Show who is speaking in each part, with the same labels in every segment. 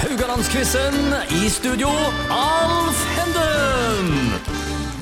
Speaker 1: Haugalandsquizen. I studio, Alf Henden.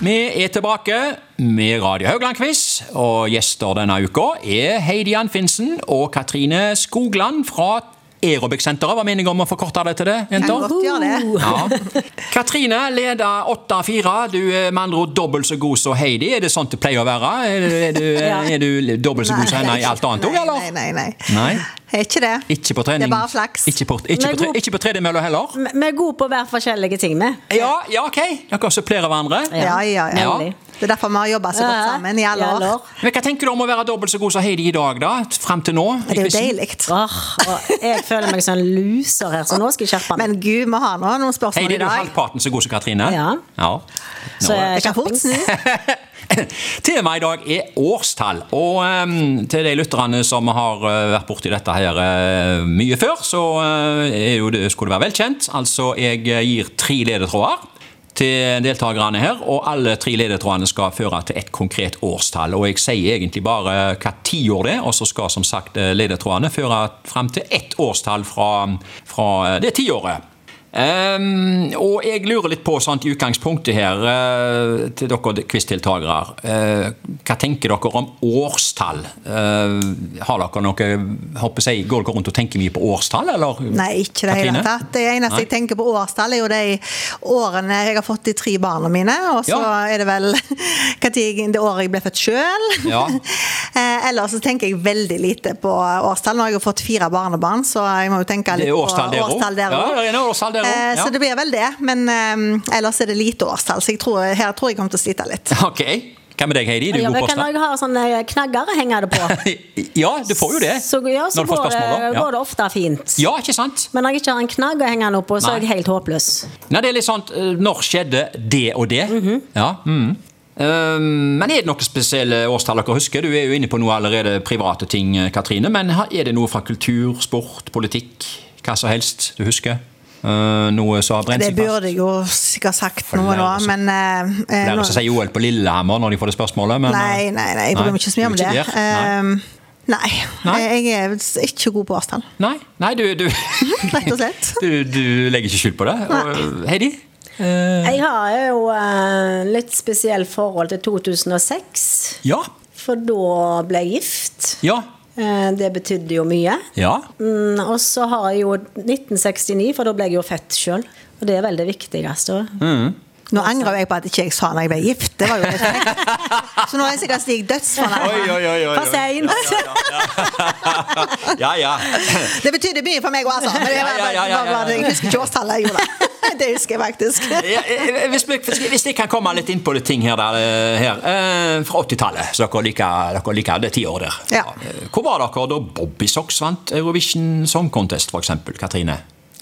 Speaker 2: Vi er tilbake med Radio Haugland-quiz, og gjester denne uka er Heidi Anfinsen og Katrine Skogland fra Aerobic-senteret. Hva mener jeg om å forkorte det til det, jenter?
Speaker 3: godt gjøre det.
Speaker 2: Ja. Katrine leder 8-4. Du er med andre ord dobbelt så god som Heidi. Er det sånn det pleier å være? Er du, er du, er du dobbelt så god som henne i alt annet òg, eller?
Speaker 3: Nei, nei, nei.
Speaker 2: Nei.
Speaker 3: Er ikke det.
Speaker 2: Ikke på trening.
Speaker 3: Det er bare flaks. Mm.
Speaker 2: Ikke på, ikke
Speaker 4: Men
Speaker 2: på, tre-
Speaker 4: god-
Speaker 2: ikke på tredemølla heller?
Speaker 4: Vi vi er gode på å være forskjellige ting med.
Speaker 2: Ja, ja, OK. Dere supplerer hverandre.
Speaker 3: Ja, ja, ja.
Speaker 2: Ja.
Speaker 3: Det er derfor vi har jobba så godt sammen i alle
Speaker 4: Ja,
Speaker 3: år.
Speaker 2: Men Hva tenker du om å være dobbelt så god som Heidi i dag, da? Frem til nå?
Speaker 3: Det er jo deilig.
Speaker 4: Åh, og jeg føler meg som en loser her, så nå skal jeg skjerpe meg.
Speaker 3: Men gud, vi har nå noen spørsmål
Speaker 2: Heidi er
Speaker 3: i
Speaker 2: jo
Speaker 3: dag. eh,
Speaker 2: halvparten så god som Katrine.
Speaker 4: Ja.
Speaker 2: Nå-
Speaker 4: Så jeg
Speaker 3: Det kan fort snu.
Speaker 2: Eh, Temaet i dag er årstall. Og ehm, til de lytterne som har eh, vært borti dette her eh, mye før, så eh, er jo det, skulle det være velkjent. Altså, jeg eh, gir tre ledetråder til deltakerne her, og alle tre ledetrådene skal føre til et konkret årstall. Og jeg sier egentlig bare hva tiår det er, og så skal som sagt eh, ledetrådene føre fram til ett årstall fra, fra eh, det tiåret. Ehm, og jeg lurer litt på sant, i utgangspunktet her, eh, til dere quizdeltakere. eh, hva tenker dere om årstall? Eh, har dere noe håper jeg, Går dere rundt og tenker mye på årstall, eller?
Speaker 3: Nei, ikke det hele
Speaker 2: Katrine?
Speaker 3: tatt. Det eneste
Speaker 2: Nei.
Speaker 3: jeg tenker på årstall, er jo de årene jeg har fått de tre barna mine. Og så
Speaker 2: Ja.
Speaker 3: er det vel hva tid jeg- det året jeg ble født sjøl.
Speaker 2: Ja.
Speaker 3: Ellers så tenker jeg veldig lite på årstall. Nå har jeg jo fått fire barnebarn, så jeg må jo tenke
Speaker 2: Det
Speaker 3: litt
Speaker 2: er årstall der
Speaker 3: på
Speaker 2: også.
Speaker 3: årstall der
Speaker 2: Ja,
Speaker 3: også.
Speaker 2: det er noe årstall der også,
Speaker 3: Eh,
Speaker 2: ja.
Speaker 3: Så det blir vel det. Men eh, ellers er det lite årstall, så jeg tror, her tror jeg kommer til å slite litt.
Speaker 2: Ok. Hva med deg, Heidi? Du er
Speaker 4: Ja,
Speaker 2: god
Speaker 4: men
Speaker 2: på
Speaker 4: kan
Speaker 2: årstall.
Speaker 4: jeg ha sånne eh, knagger å henge det på?
Speaker 2: Ja, du får jo det.
Speaker 4: Så, ja, så
Speaker 2: når du får
Speaker 4: går, det,
Speaker 2: spørsmål. da. Ja.
Speaker 4: går det ofte fint.
Speaker 2: ja, ikke sant?
Speaker 4: Men når jeg ikke har en knagg å henge den opp på, så er jeg
Speaker 2: Nei.
Speaker 4: helt håpløs.
Speaker 2: Nei, det er litt sånn eh, Når skjedde det og det? Ja. mhm. Ehm, men er det noe spesielle årstall dere husker? Du er jo inne på noe allerede private ting, eh, Katrine. Men ha- er det noe fra kultur, sport, politikk? Hva som helst du husker? Eh, noe som har brent seg
Speaker 3: Det
Speaker 2: fast? altså.
Speaker 3: burde jeg jo sikkert sagt
Speaker 2: det
Speaker 3: noe
Speaker 2: er
Speaker 3: nå,
Speaker 2: også-
Speaker 3: men eh, eh,
Speaker 2: Flere
Speaker 3: nå-
Speaker 2: som sier OL på Lillehammer når de får det spørsmålet. Men, eh,
Speaker 3: Nei, nei, nei, jeg bryr meg ikke så mye om
Speaker 2: du er
Speaker 3: det.
Speaker 2: ikke der. Nei.
Speaker 3: Ehm, Nei.
Speaker 2: Nei?
Speaker 3: jeg er ikke god på årstall,
Speaker 2: Nei, nei du, du,
Speaker 3: rett og slett.
Speaker 2: du, du legger ikke skjul på det. Og, eh, Heidi?
Speaker 4: Jeg har jo eh, litt spesiell forhold til 2006,
Speaker 2: Ja.
Speaker 4: for da ble jeg gift.
Speaker 2: Ja.
Speaker 4: Eh, Det betydde jo mye.
Speaker 2: Ja.
Speaker 4: Mm, og så har jeg jo 1969, for da ble jeg jo født sjøl. Og det er vel det viktigste.
Speaker 2: Mm.
Speaker 3: Nå angrer jeg på at ikke jeg sa når jeg ble gift. Det var jo litt frekt. Så nå er jeg sikkert slik dødsfornærma.
Speaker 4: For seint!
Speaker 2: Ja, ja.
Speaker 3: Det betydde mye for meg òg, altså. Men det var,
Speaker 2: Ja, ja, ja, ja, ja.
Speaker 3: var- var- jeg husker ikke årstallet jeg gjorde. Det husker jeg faktisk.
Speaker 2: Ja, eh, hvis, vi- hvis jeg kan komme litt inn på det ting her, der, eh, her eh, fra 80-tallet, så dere liker, dere liker det tiåret der.
Speaker 3: Ja.
Speaker 2: Eh, Hvor var dere da Bobby Socks vant Eurovision Song Contest, for eksempel, Katrine?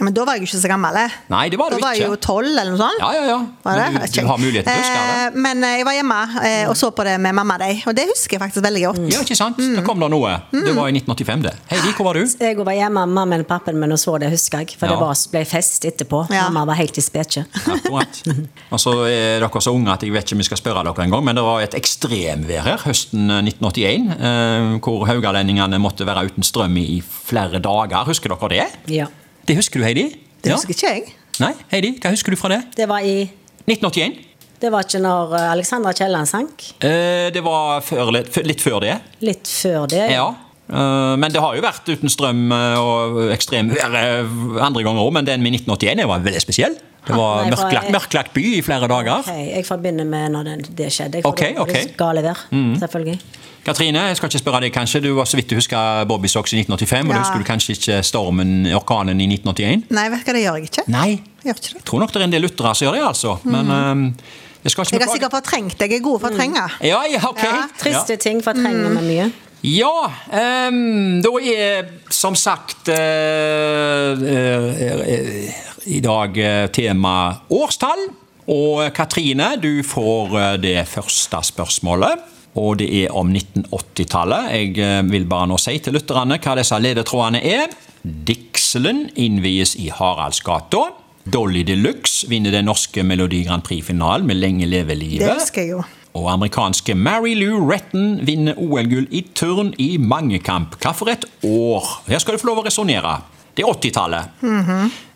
Speaker 3: Men da var jeg jo ikke så gammel. jeg.
Speaker 2: Nei, det var du
Speaker 3: da var jeg
Speaker 2: ikke.
Speaker 3: jo tolv eller noe sånt.
Speaker 2: Ja, ja, ja.
Speaker 3: Var det?
Speaker 2: Men du, du har mulighet til å huske det.
Speaker 3: Eh, Men eh, jeg var hjemme eh, og så på det med mamma og deg, og det husker jeg faktisk veldig godt.
Speaker 2: Ja, ikke sant? Da kom det noe. Det var i 1985, det. Heidi, hvor var du?
Speaker 4: Jeg var hjemme med mammaen og pappaen min og så det, husker jeg. For
Speaker 2: Ja.
Speaker 4: det var, ble fest etterpå.
Speaker 3: Ja.
Speaker 4: Mamma var helt i spedkje.
Speaker 2: Akkurat. Og så er dere så unge at jeg vet ikke om jeg skal spørre dere en gang, men det var et ekstremvær her høsten 1981, eh, hvor haugalendingene måtte være uten strøm i flere dager. Husker dere det?
Speaker 4: Ja.
Speaker 2: Det husker du, Heidi?
Speaker 3: Det husker ikke jeg.
Speaker 2: Nei, Heidi, hva husker du fra det?
Speaker 4: Det var i
Speaker 2: 1981?
Speaker 4: Det var ikke når eh, Alexandra Kielland sank.
Speaker 2: Eh, det var før, litt, litt før det,
Speaker 4: Litt før det.
Speaker 2: ja. Eh, men det har jo vært uten strøm eh, og ekstremvær eh, andre ganger òg, men den med 1981 var veldig spesiell. Det var
Speaker 4: Nei, for-
Speaker 2: mørklagt, mørklagt by i flere dager.
Speaker 4: Ok, jeg forbinder med når det, det skjedde. Jeg
Speaker 2: Ok, Mm.
Speaker 4: forbinder
Speaker 2: ok.
Speaker 4: med det Gale vær, selvfølgelig.
Speaker 2: Katrine, jeg skal ikke spørre deg kanskje, du var så vidt du husker Bobby Socks i 1985, og
Speaker 3: Ja.
Speaker 2: du husker du kanskje ikke stormen, orkanen i 1981?
Speaker 3: Nei, vet du hva, det gjør jeg ikke.
Speaker 2: Nei,
Speaker 3: Jeg gjør ikke det.
Speaker 2: jeg tror nok det er en del lyttere som gjør det, altså. Men eh, jeg skal ikke
Speaker 3: Mm. Jeg har sikkert fortrengt. Jeg er god for å trenge.
Speaker 2: Ja, ja, ok.
Speaker 3: Ja,
Speaker 2: Ja. Mm.
Speaker 4: Triste ting fortrenger vi mye.
Speaker 2: Ja, ehm, da er som sagt eh, eh, eh, i dag eh, tema årstall. Og eh, Katrine, du får eh, det første spørsmålet. Og det er om 1980-tallet. Jeg eh, vil bare nå si til lytterne hva disse ledetrådene er. Dikselen innvies i Haraldsgata. Dolly Deluxe vinner den norske Melodi Grand Prix-finalen med Lenge leve livet.
Speaker 3: Det husker jeg jo.
Speaker 2: Og amerikanske Mary Lou Retton vinner OL-gull i turn i mangekamp. Hva for et år? Her skal du få lov å resonnere. Det er 80-tallet. Er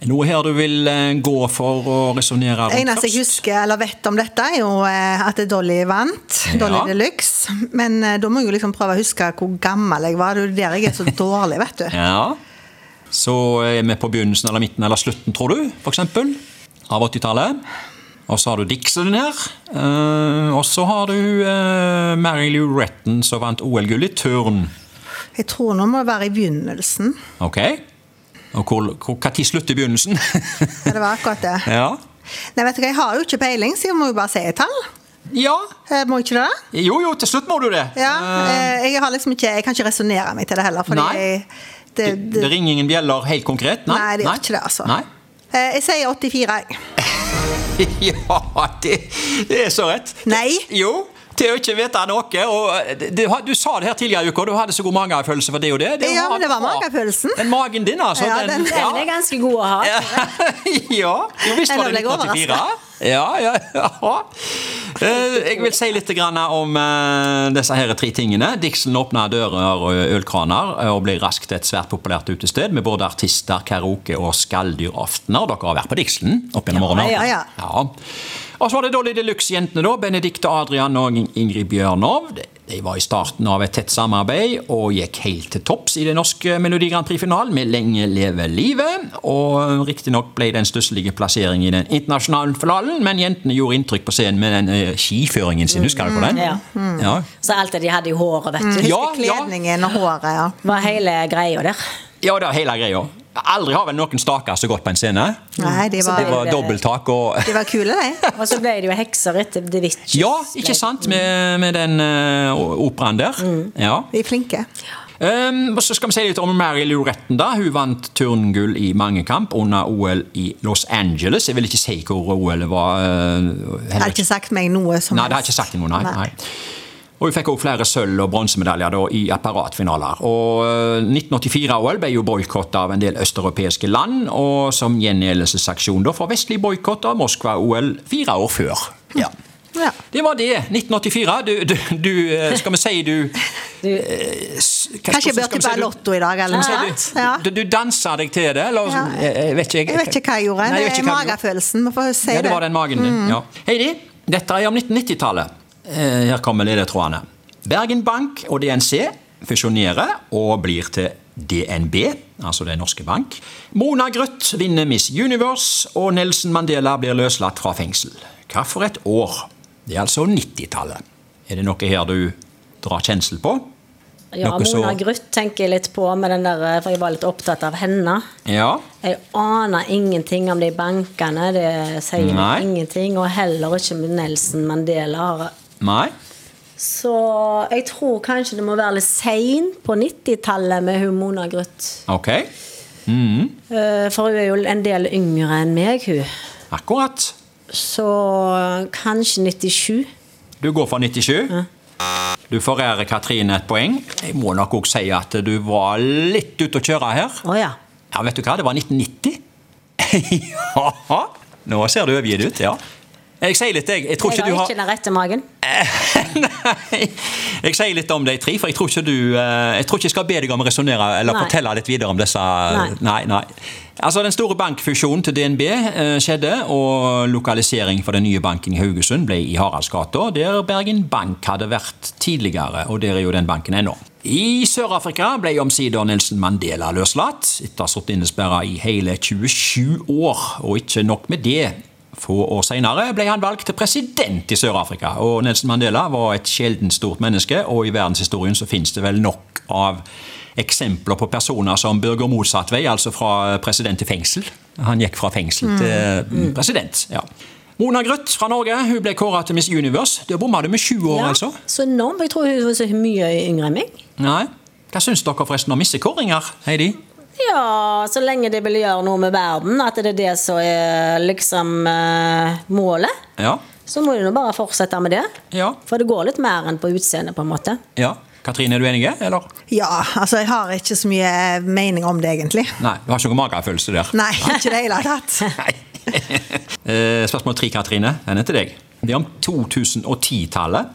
Speaker 2: det Noe her du vil eh, gå for å resonnere
Speaker 3: Det
Speaker 2: rundt
Speaker 3: eneste jeg husker eller vet om dette, er jo eh, at Dolly vant. Dolly
Speaker 2: Ja.
Speaker 3: Deluxe. Men eh, da må jeg jo liksom prøve å huske hvor gammel jeg var. Det er jo der jeg er så dårlig, vet du.
Speaker 2: Ja. Så er vi på begynnelsen eller midten eller slutten, tror du, for eksempel, av 80-tallet. Og så har du Dixon her. Eh, og så har du eh, Mary Lou Retton, som vant OL-gull i turn.
Speaker 3: Jeg tror nå må det være i begynnelsen.
Speaker 2: Ok? Og hvor, hvor, hva tid slutter begynnelsen?
Speaker 3: Ja, det var akkurat det.
Speaker 2: ja.
Speaker 3: Nei, vet du hva, jeg har jo ikke peiling, så jeg må jo bare si et tall.
Speaker 2: ja.
Speaker 3: Eh, Må ikke det?
Speaker 2: Jo, jo, til slutt må du det.
Speaker 3: Ja,
Speaker 2: Eh,
Speaker 3: eh, jeg har liksom ikke Jeg kan ikke resonnere meg til det heller, fordi
Speaker 2: Nei.
Speaker 3: jeg, det,
Speaker 2: det, det ringer ingen bjeller helt konkret? Nei,
Speaker 3: Nei, det gjør ikke det, altså.
Speaker 2: Nei.
Speaker 3: Eh, Jeg sier 84, jeg.
Speaker 2: Ja, det, det er så rett.
Speaker 3: Nei.
Speaker 2: Jo, til å ikke vite noe. Og eh, det, det, du sa det her tidligere i uka, du hadde så god magefølelse for det og det. det
Speaker 3: Ja, men det var
Speaker 2: bra.
Speaker 3: magefølelsen.
Speaker 2: Den magen din, altså.
Speaker 3: Ja, den-
Speaker 4: Den er ganske god å ha.
Speaker 2: ja. Jo visst var
Speaker 3: Eller
Speaker 2: det
Speaker 3: ble jeg
Speaker 2: 1984. Ja, ja, ja. Eh, Jeg vil si litt grann om eh, disse her tre tingene. Dixon åpna dører og ølkraner eh, og ble raskt et svært populært utested med både artister, karaoke og skalldyraftener. Dere har vært på Dixon opp gjennom årene.
Speaker 3: ja, ja.
Speaker 2: Ja. Og så var det Dolly Deluxe-jentene, da. Benedicte Adrian og In- Ingrid Bjørnov. De- De var i starten av et tett samarbeid og gikk helt til topps i det norske Melodi Grand Prix-finalen med Lenge leve livet. Og riktignok ble det en stusslig plassering i den internasjonale finalen, men jentene gjorde inntrykk på scenen med den eh, skiføringen sin, husker du på den?
Speaker 4: Ja.
Speaker 2: Ja.
Speaker 4: Så alt det de hadde i håret, vet du.
Speaker 2: Mm. Ja, ja.
Speaker 3: Kledningen og håret, ja.
Speaker 4: Var hele greia der.
Speaker 2: ja, det var hele greia. Aldri har vel noen staker så godt på en scene.
Speaker 3: Nei, de
Speaker 2: Det
Speaker 3: var,
Speaker 2: var dobbelttak og
Speaker 3: de var kule, de.
Speaker 4: Og så ble det jo hekser etter Da Vinci.
Speaker 2: Ja, ikke sant? Med, med den eh, operaen der. Ja.
Speaker 3: De er flinke.
Speaker 2: Ehm, og så skal vi si litt om Mary Lou Retton. da. Hun vant turngull i mangekamp under OL i Los Angeles. Jeg vil ikke si hvor OL var. eh,
Speaker 3: Jeg
Speaker 2: heller
Speaker 3: har ikke sagt meg noe som
Speaker 2: Nei, det har jeg ikke sagt til noen, nei. nei. Og Hun fikk også flere sølv- og bronsemedaljer da i apparatfinaler. Og eh, 1984-OL ble jo boikott av en del østeuropeiske land, og som gjengjeldelsesaksjon da for vestlig boikott av Moskva-OL fire år før. Ja.
Speaker 3: Ja.
Speaker 2: Det var det. 1984. Du, du, du eh, Skal vi si du eh,
Speaker 3: Kanskje jeg bør til Ballotto i dag, eller noe
Speaker 2: Sier
Speaker 3: sånt. Ja.
Speaker 2: Du, du, du dansa deg til det, eller?
Speaker 3: Ja.
Speaker 2: Jeg, jeg vet ikke, jeg,
Speaker 3: Jeg vet ikke hva jeg gjorde.
Speaker 2: Nei, jeg vet ikke hva
Speaker 3: det er
Speaker 2: du gjorde.
Speaker 3: magefølelsen. Vi får si
Speaker 2: Ja, det var den magen din. Ja. Heidi, dette er om 1990-tallet. Eh, Her kommer ledetrådene. Bergen Bank og DNC fusjonerer og blir til DNB, altså Den norske bank. Mona Grøth vinner Miss Universe, og Nelson Mandela blir løslatt fra fengsel. Hva for et år? Det er altså 90-tallet. Er det noe her du drar kjensel på?
Speaker 4: Ja,
Speaker 2: Noe så-
Speaker 4: Mona Gruth tenker jeg litt på, med den der, eh, for jeg var litt opptatt av henne.
Speaker 2: Ja.
Speaker 4: Jeg aner ingenting om de bankene, det sier
Speaker 2: Nei.
Speaker 4: meg ingenting. Og heller ikke med Nelson Mandela. har-
Speaker 2: Nei?
Speaker 4: Så jeg tror kanskje det må være litt sein på 90-tallet med hun Mona Gruth.
Speaker 2: Ok.
Speaker 4: Eh, For hun er jo en del yngre enn meg, hun.
Speaker 2: Akkurat.
Speaker 4: Så kanskje 97.
Speaker 2: Du går for 97. Du forærer Katrine et poeng. Jeg må nok òg si at du var litt ute å kjøre her.
Speaker 4: Å ja.
Speaker 2: Ja, vet du hva? Det var 1990. ja. Nå ser du overgitt ut, ja. Jeg sier litt, jeg. Jeg tror
Speaker 4: Jeg
Speaker 2: ikke du
Speaker 4: har
Speaker 2: har
Speaker 4: ikke den rette magen.
Speaker 2: Nei. Jeg sier litt om de tre, for jeg tror ikke du eh, Jeg tror ikke jeg skal be deg om å resonnere eller
Speaker 4: Nei.
Speaker 2: fortelle litt videre om disse
Speaker 4: Nei.
Speaker 2: Nei, nei. Altså, Den store bankfusjonen til DNB eh, skjedde, og lokalisering for den nye banken i Haugesund ble i Haraldsgata, der Bergen Bank hadde vært tidligere, og der er jo den banken ennå. I Sør-Afrika ble omsider Nelson Mandela løslatt, etter å ha sittet innesperra i hele 27 år, og ikke nok med det. Få år senere ble han valgt til president i Sør-Afrika, og Nelson Mandela var et sjeldent stort menneske, og i verdenshistorien så finnes det vel nok av eksempler på personer som bør gå motsatt vei, altså fra president til fengsel. Han gikk fra fengsel til mm, president, ja. Mona Grøth fra Norge hun ble kåra til Miss Universe. Da bomma du med sju år,
Speaker 4: Ja,
Speaker 2: altså.
Speaker 4: så enormt. Jeg tror hun var så mye yngre enn meg.
Speaker 2: Nei. Hva syns dere forresten om missekåringer, Heidi?
Speaker 4: Ja, så lenge det vil gjøre noe med verden, at det er det som er liksom eh, målet,
Speaker 2: Ja.
Speaker 4: så må du nå bare fortsette med det.
Speaker 2: Ja.
Speaker 4: For det går litt mer enn på utseendet, på en måte.
Speaker 2: ja. Katrine, er du enig, eller?
Speaker 3: Ja, altså jeg har ikke så mye mening om det, egentlig.
Speaker 2: Nei, du har ikke noen magefølelse der?
Speaker 3: Nei, ikke i det hele tatt.
Speaker 2: Nei. Eh, Spørsmål tre, Katrine. Den er til deg. Det er om 2010-tallet.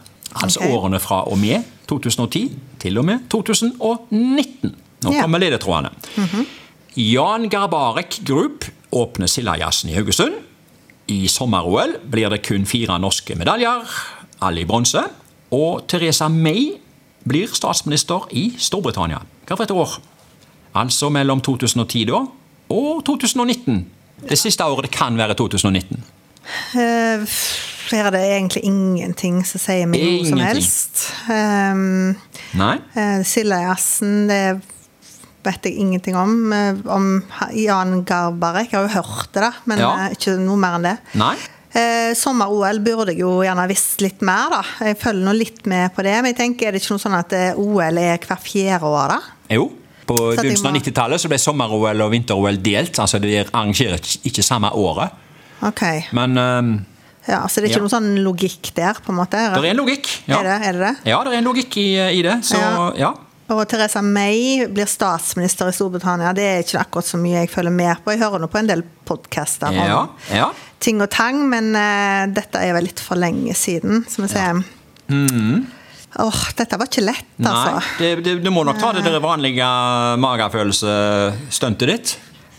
Speaker 2: Altså
Speaker 3: Ok.
Speaker 2: årene fra og med 2010 til og med 2019. Nå
Speaker 3: Ja.
Speaker 2: kommer ledetrådene. Jan Garbarek Group åpner Sildajazzen i Haugesund. I sommer-OL blir det kun fire norske medaljer, alle i bronse. Og Teresa May blir statsminister i Storbritannia. Hva for et år? Altså mellom 2010 da, og 2019. Det siste året det kan være 2019.
Speaker 3: Eh, f- her er det egentlig ingenting som sier meg noe som
Speaker 2: Ingenting.
Speaker 3: helst. Um,
Speaker 2: Nei?
Speaker 3: eh, Sildajazzen, det vet jeg ingenting om. Eh, om ha- Jan Garbarek, jeg har jo hørt det, da, men
Speaker 2: Ja.
Speaker 3: eh, ikke noe mer enn det.
Speaker 2: Nei?
Speaker 3: Eh, Sommer-OL burde jeg jo gjerne visst litt mer, da. Jeg følger nå litt med på det. Men jeg tenker, er det ikke noe sånn at eh, OL er hver fjerde år, da?
Speaker 2: Jo. På
Speaker 3: Så at de
Speaker 2: begynnelsen av
Speaker 3: må-
Speaker 2: 90-tallet så ble sommer-OL og vinter-OL delt. altså De arrangerer ikke samme året.
Speaker 3: Ok.
Speaker 2: Men ehm,
Speaker 3: Ja, så det er ikke
Speaker 2: Ja.
Speaker 3: noe sånn logikk der, på en måte?
Speaker 2: det er en logikk. Ja,
Speaker 3: Er det, er det det?
Speaker 2: ja det er en logikk i, i det. Så
Speaker 3: Ja.
Speaker 2: ja.
Speaker 3: Og Teresa May blir statsminister i Storbritannia. Det er ikke akkurat så mye jeg følger med på. Jeg hører nå på en del podkaster om
Speaker 2: Ja, ja.
Speaker 3: ting og tang, men eh, dette er vel litt for lenge siden, som vi sier. Åh, dette var ikke lett,
Speaker 2: Mm. Nei,
Speaker 3: altså.
Speaker 2: det, det, du må nok ta det der vanlige magefølelsestuntet ditt.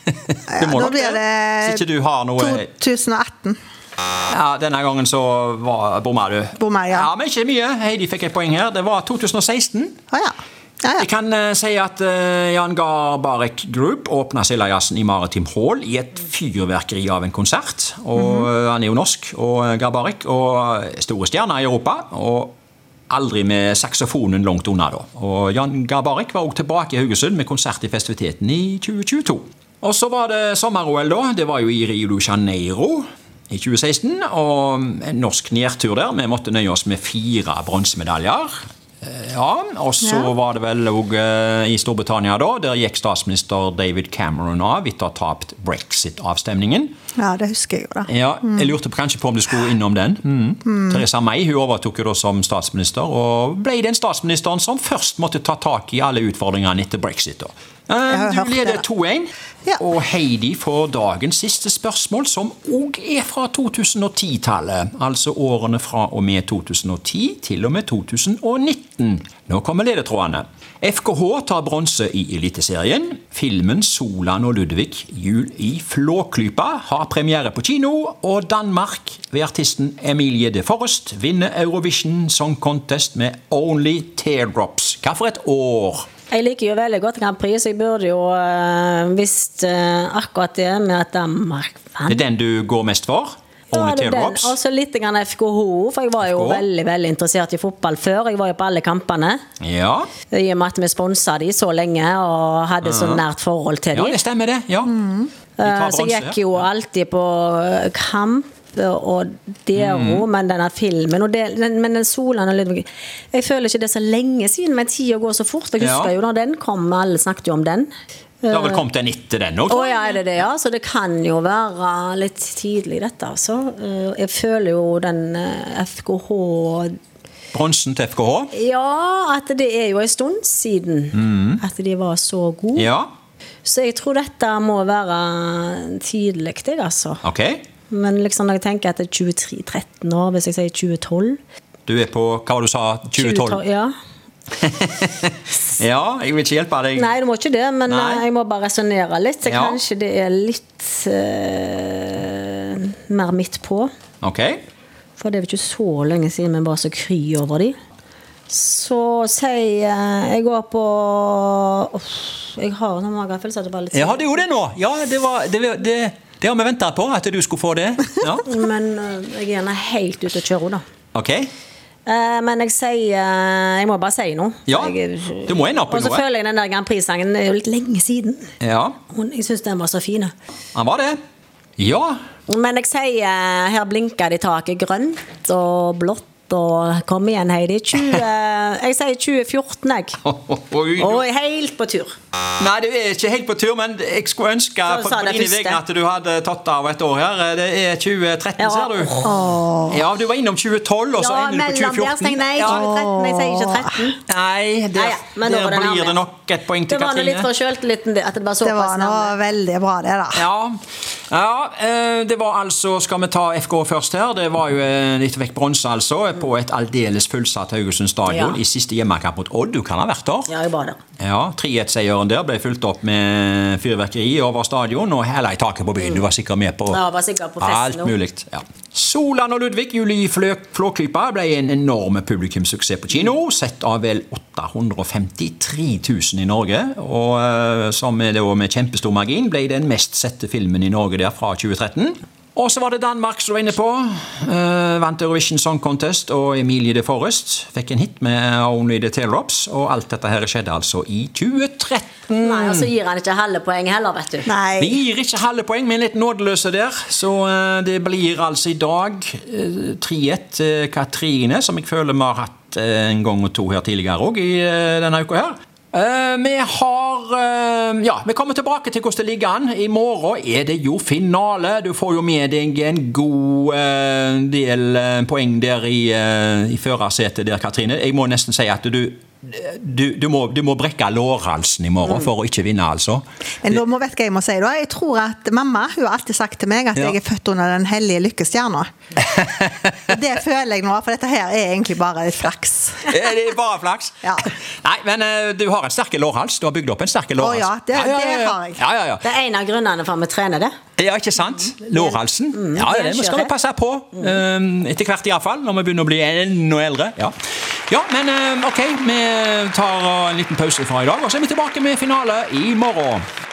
Speaker 2: Du må
Speaker 3: da
Speaker 2: nok
Speaker 3: blir det-
Speaker 2: Hvis ikke du har noe
Speaker 3: 2018.
Speaker 2: Ja, Denne gangen så var- bomma du.
Speaker 3: Bomma, ja.
Speaker 2: ja. Men ikke mye. Heidi fikk et poeng her. Det var 2016.
Speaker 3: Å ja. Ja,
Speaker 2: Jeg
Speaker 3: ja.
Speaker 2: kan eh, si at eh, Jan Garbarek Group åpna Sildajazzen i Maritim Hall i et fyrverkeri av en konsert. Og eh, Han er jo norsk, og eh, Garbarek, og eh, store stjerner i Europa. og Aldri med saksofonen langt unna, da. Og Jan Garbarek var også tilbake i Haugesund med konsert i festiviteten i 2022. Og så var det sommer-OL, da. Det var jo i Rio de Janeiro i 2016. Og en norsk nedtur der. Vi måtte nøye oss med fire bronsemedaljer. Eh, Ja, og så
Speaker 3: Ja.
Speaker 2: var det vel òg eh, i Storbritannia, da. Der gikk statsminister David Cameron av etter å ha tapt brexit-avstemningen.
Speaker 3: ja, det husker jeg jo, da.
Speaker 2: Ja, Jeg lurte på- kanskje på om du skulle innom den. Mm. Theresa May hun overtok jo da som statsminister, og ble den statsministeren som først måtte ta tak i alle utfordringene etter brexit. da. Eh,
Speaker 3: har hørt
Speaker 2: Du
Speaker 3: det,
Speaker 2: leder
Speaker 3: da.
Speaker 2: 2-1,
Speaker 3: Ja.
Speaker 2: og Heidi får dagens siste spørsmål, som òg er fra 2010-tallet. Altså årene fra og med 2010 til og med 2019. Nå kommer ledetrådene. FKH tar bronse i Eliteserien. Filmen 'Solan og Ludvig jul i Flåklypa' har premiere på kino. Og Danmark, ved artisten Emilie de Forrest, vinner Eurovision Song Contest med 'Only Teardrops'. Hva for et år?
Speaker 4: Jeg liker jo veldig godt Grand Prix, så jeg burde jo øh, visst øh, akkurat det med at Danmark
Speaker 2: Det
Speaker 4: vant.
Speaker 2: er den du går mest for? Only
Speaker 4: Ja, det er den.
Speaker 2: Teardrops?
Speaker 4: Og så litt grann FKH, for jeg var jo
Speaker 2: FKH?
Speaker 4: veldig veldig interessert i fotball før. Jeg var jo på alle kampene.
Speaker 2: Ja.
Speaker 4: I og med at vi sponsa de så lenge og hadde så nært forhold til
Speaker 2: ja,
Speaker 4: de.
Speaker 2: det stemmer det. Ja. De tar
Speaker 4: Eh, Så
Speaker 2: bronse.
Speaker 4: jeg gikk jo alltid på eh, kamp og
Speaker 2: Mhm.
Speaker 4: Dero, men denne filmen og det, den, Men den Solan og Ludvig Jeg føler ikke det er så lenge siden, men tida går så fort. Jeg
Speaker 2: Ja.
Speaker 4: husker jo da den kom, alle snakket jo om den.
Speaker 2: Det har vel kommet en etter den òg?
Speaker 4: eh, Å ja, er det det, ja? Så det kan jo være litt tidlig, dette, altså. Eh, Jeg føler jo den eh, FKH
Speaker 2: Bronsen til FKH?
Speaker 4: Ja, at det er jo en stund siden at de var så gode.
Speaker 2: Mhm. Ja.
Speaker 4: Så jeg tror dette må være tidlig, jeg, altså.
Speaker 2: Ok.
Speaker 4: Men liksom når jeg tenker etter 23-13 år, hvis jeg sier 2012
Speaker 2: Du er på hva var det du sa 2012?
Speaker 4: Ja.
Speaker 2: Ja, jeg vil ikke hjelpe deg.
Speaker 4: Nei, du må ikke det, men
Speaker 2: Mm. Nei.
Speaker 4: eh, jeg må bare resonnere litt. Så
Speaker 2: Ja.
Speaker 4: kanskje det er litt eh, mer midt på.
Speaker 2: Ok.
Speaker 4: For det er jo ikke så lenge siden vi var så kry over de. Så sier jeg Jeg går på Uff, Jeg har en magefølelse at det var litt
Speaker 2: Jeg hadde jo det nå! Ja, det, var, det, det, det har vi venta på, at du skulle få det. Ja.
Speaker 4: Men eh, jeg er gjerne helt ute å kjøre, da.
Speaker 2: Ok.
Speaker 4: Eh, Men jeg sier eh, Jeg må bare si noe.
Speaker 2: Ja,
Speaker 4: Jeg-
Speaker 2: du må ende opp med
Speaker 4: Og så
Speaker 2: noe.
Speaker 4: føler jeg den der Grand Prix-sangen Det er jo litt lenge siden.
Speaker 2: Ja,
Speaker 4: Hun- Jeg syns den var så fin.
Speaker 2: han var det. Ja.
Speaker 4: Men jeg sier eh, her blinker det i taket grønt og blått. Og kom igjen, Heidi. 20, jeg sier 2014, jeg.
Speaker 2: Oi,
Speaker 4: Og jeg er helt på tur.
Speaker 2: Nei, du er ikke helt på tur, men jeg skulle ønske
Speaker 4: Så
Speaker 2: på,
Speaker 4: sa
Speaker 2: på
Speaker 4: det
Speaker 2: dine
Speaker 4: første.
Speaker 2: vegne at du hadde tatt av et år her. Det er 2013,
Speaker 4: Ja.
Speaker 2: ser du. Ja, du var innom 2012, og så
Speaker 4: Ja,
Speaker 2: ender du på
Speaker 4: mellom der sier
Speaker 2: 2014.
Speaker 4: nei.
Speaker 2: Ja.
Speaker 4: 2013, jeg sier ikke 13.
Speaker 2: Nei,
Speaker 4: Nei,
Speaker 2: der,
Speaker 4: ja, men nå
Speaker 2: der
Speaker 4: var det
Speaker 2: blir
Speaker 4: nærmere.
Speaker 2: det nok et poeng til
Speaker 4: Det var nå litt
Speaker 2: Katrine.
Speaker 4: for sjøltilliten, det. At det var
Speaker 3: Det var
Speaker 4: såpass
Speaker 3: nå
Speaker 4: nærme.
Speaker 3: veldig bra, det, da.
Speaker 2: Ja. Ja, eh, det var altså Skal vi ta FK først her? Det var jo eh, litt vekk bronse, altså. På et aldeles fullsatt Haugesund stadion
Speaker 4: Ja.
Speaker 2: i siste hjemmekamp mot Odd. Du kan ha vært der.
Speaker 4: Ja, jeg var der.
Speaker 2: Ja, 3-1-seieren der ble fulgt opp med fyrverkeri over stadion og hele i taket på byen. Du var sikkert med på
Speaker 4: Ja, jeg var sikkert på festen
Speaker 2: alt
Speaker 4: også.
Speaker 2: mulig. Ja. Solan og Ludvig, Julie Flø- Flåklypa, ble en enorm publikumssuksess på kino. Sett av vel 853 000 i Norge. Og eh, som er det også med kjempestor margin ble den mest sette filmen i Norge der fra 2013. Og så var det Danmark som du var inne på. Eh, vant Eurovision Song Contest, og Emilie de Forrest fikk en hit med Only the Tailrops. Og alt dette her skjedde altså i 2013.
Speaker 4: Nei, og så gir han ikke halve poeng heller, vet du.
Speaker 2: Vi
Speaker 3: Nei.
Speaker 2: gir ikke halve poeng, men litt nådeløse der. Så eh, det blir altså i dag eh, 3-1 til Katrine, som jeg føler vi har hatt eh, en gang og to her tidligere òg i eh, denne uka her. Eh, vi har eh, Ja, vi kommer tilbake til hvordan det ligger an. I morgen er det jo finale. Du får jo med deg en god eh, del eh, poeng der i, eh, i førersetet der, Katrine. Jeg må nesten si at du eh, du, du, må, du må brekke lårhalsen i morgen for å ikke vinne, altså.
Speaker 3: Men da må vet hva jeg må si da. Jeg tror at mamma hun har alltid sagt til meg at
Speaker 2: Ja.
Speaker 3: jeg er født under den hellige lykkestjerna. Og det føler jeg nå, for dette her er egentlig bare litt flaks.
Speaker 2: Eh, Det er bare flaks.
Speaker 3: Ja.
Speaker 2: Nei, men eh, du har en sterk lårhals. Du har bygd opp en sterk lårhals.
Speaker 3: ja, det-
Speaker 2: ja, ja, ja.
Speaker 3: det har jeg.
Speaker 2: Ja, ja, ja.
Speaker 4: Det er en av grunnene for at vi trener det.
Speaker 2: Ja, ikke sant?
Speaker 3: Mm.
Speaker 2: Lårhalsen. Ja,
Speaker 4: det er
Speaker 2: det skal vi
Speaker 4: skjørt.
Speaker 2: passe på. eh, Etter hvert iallfall, når vi begynner å bli enda eldre. Ja, ja men ehm, eh, ok, vi tar eh, en liten pause fra i dag, og så er vi tilbake med finale i morgen.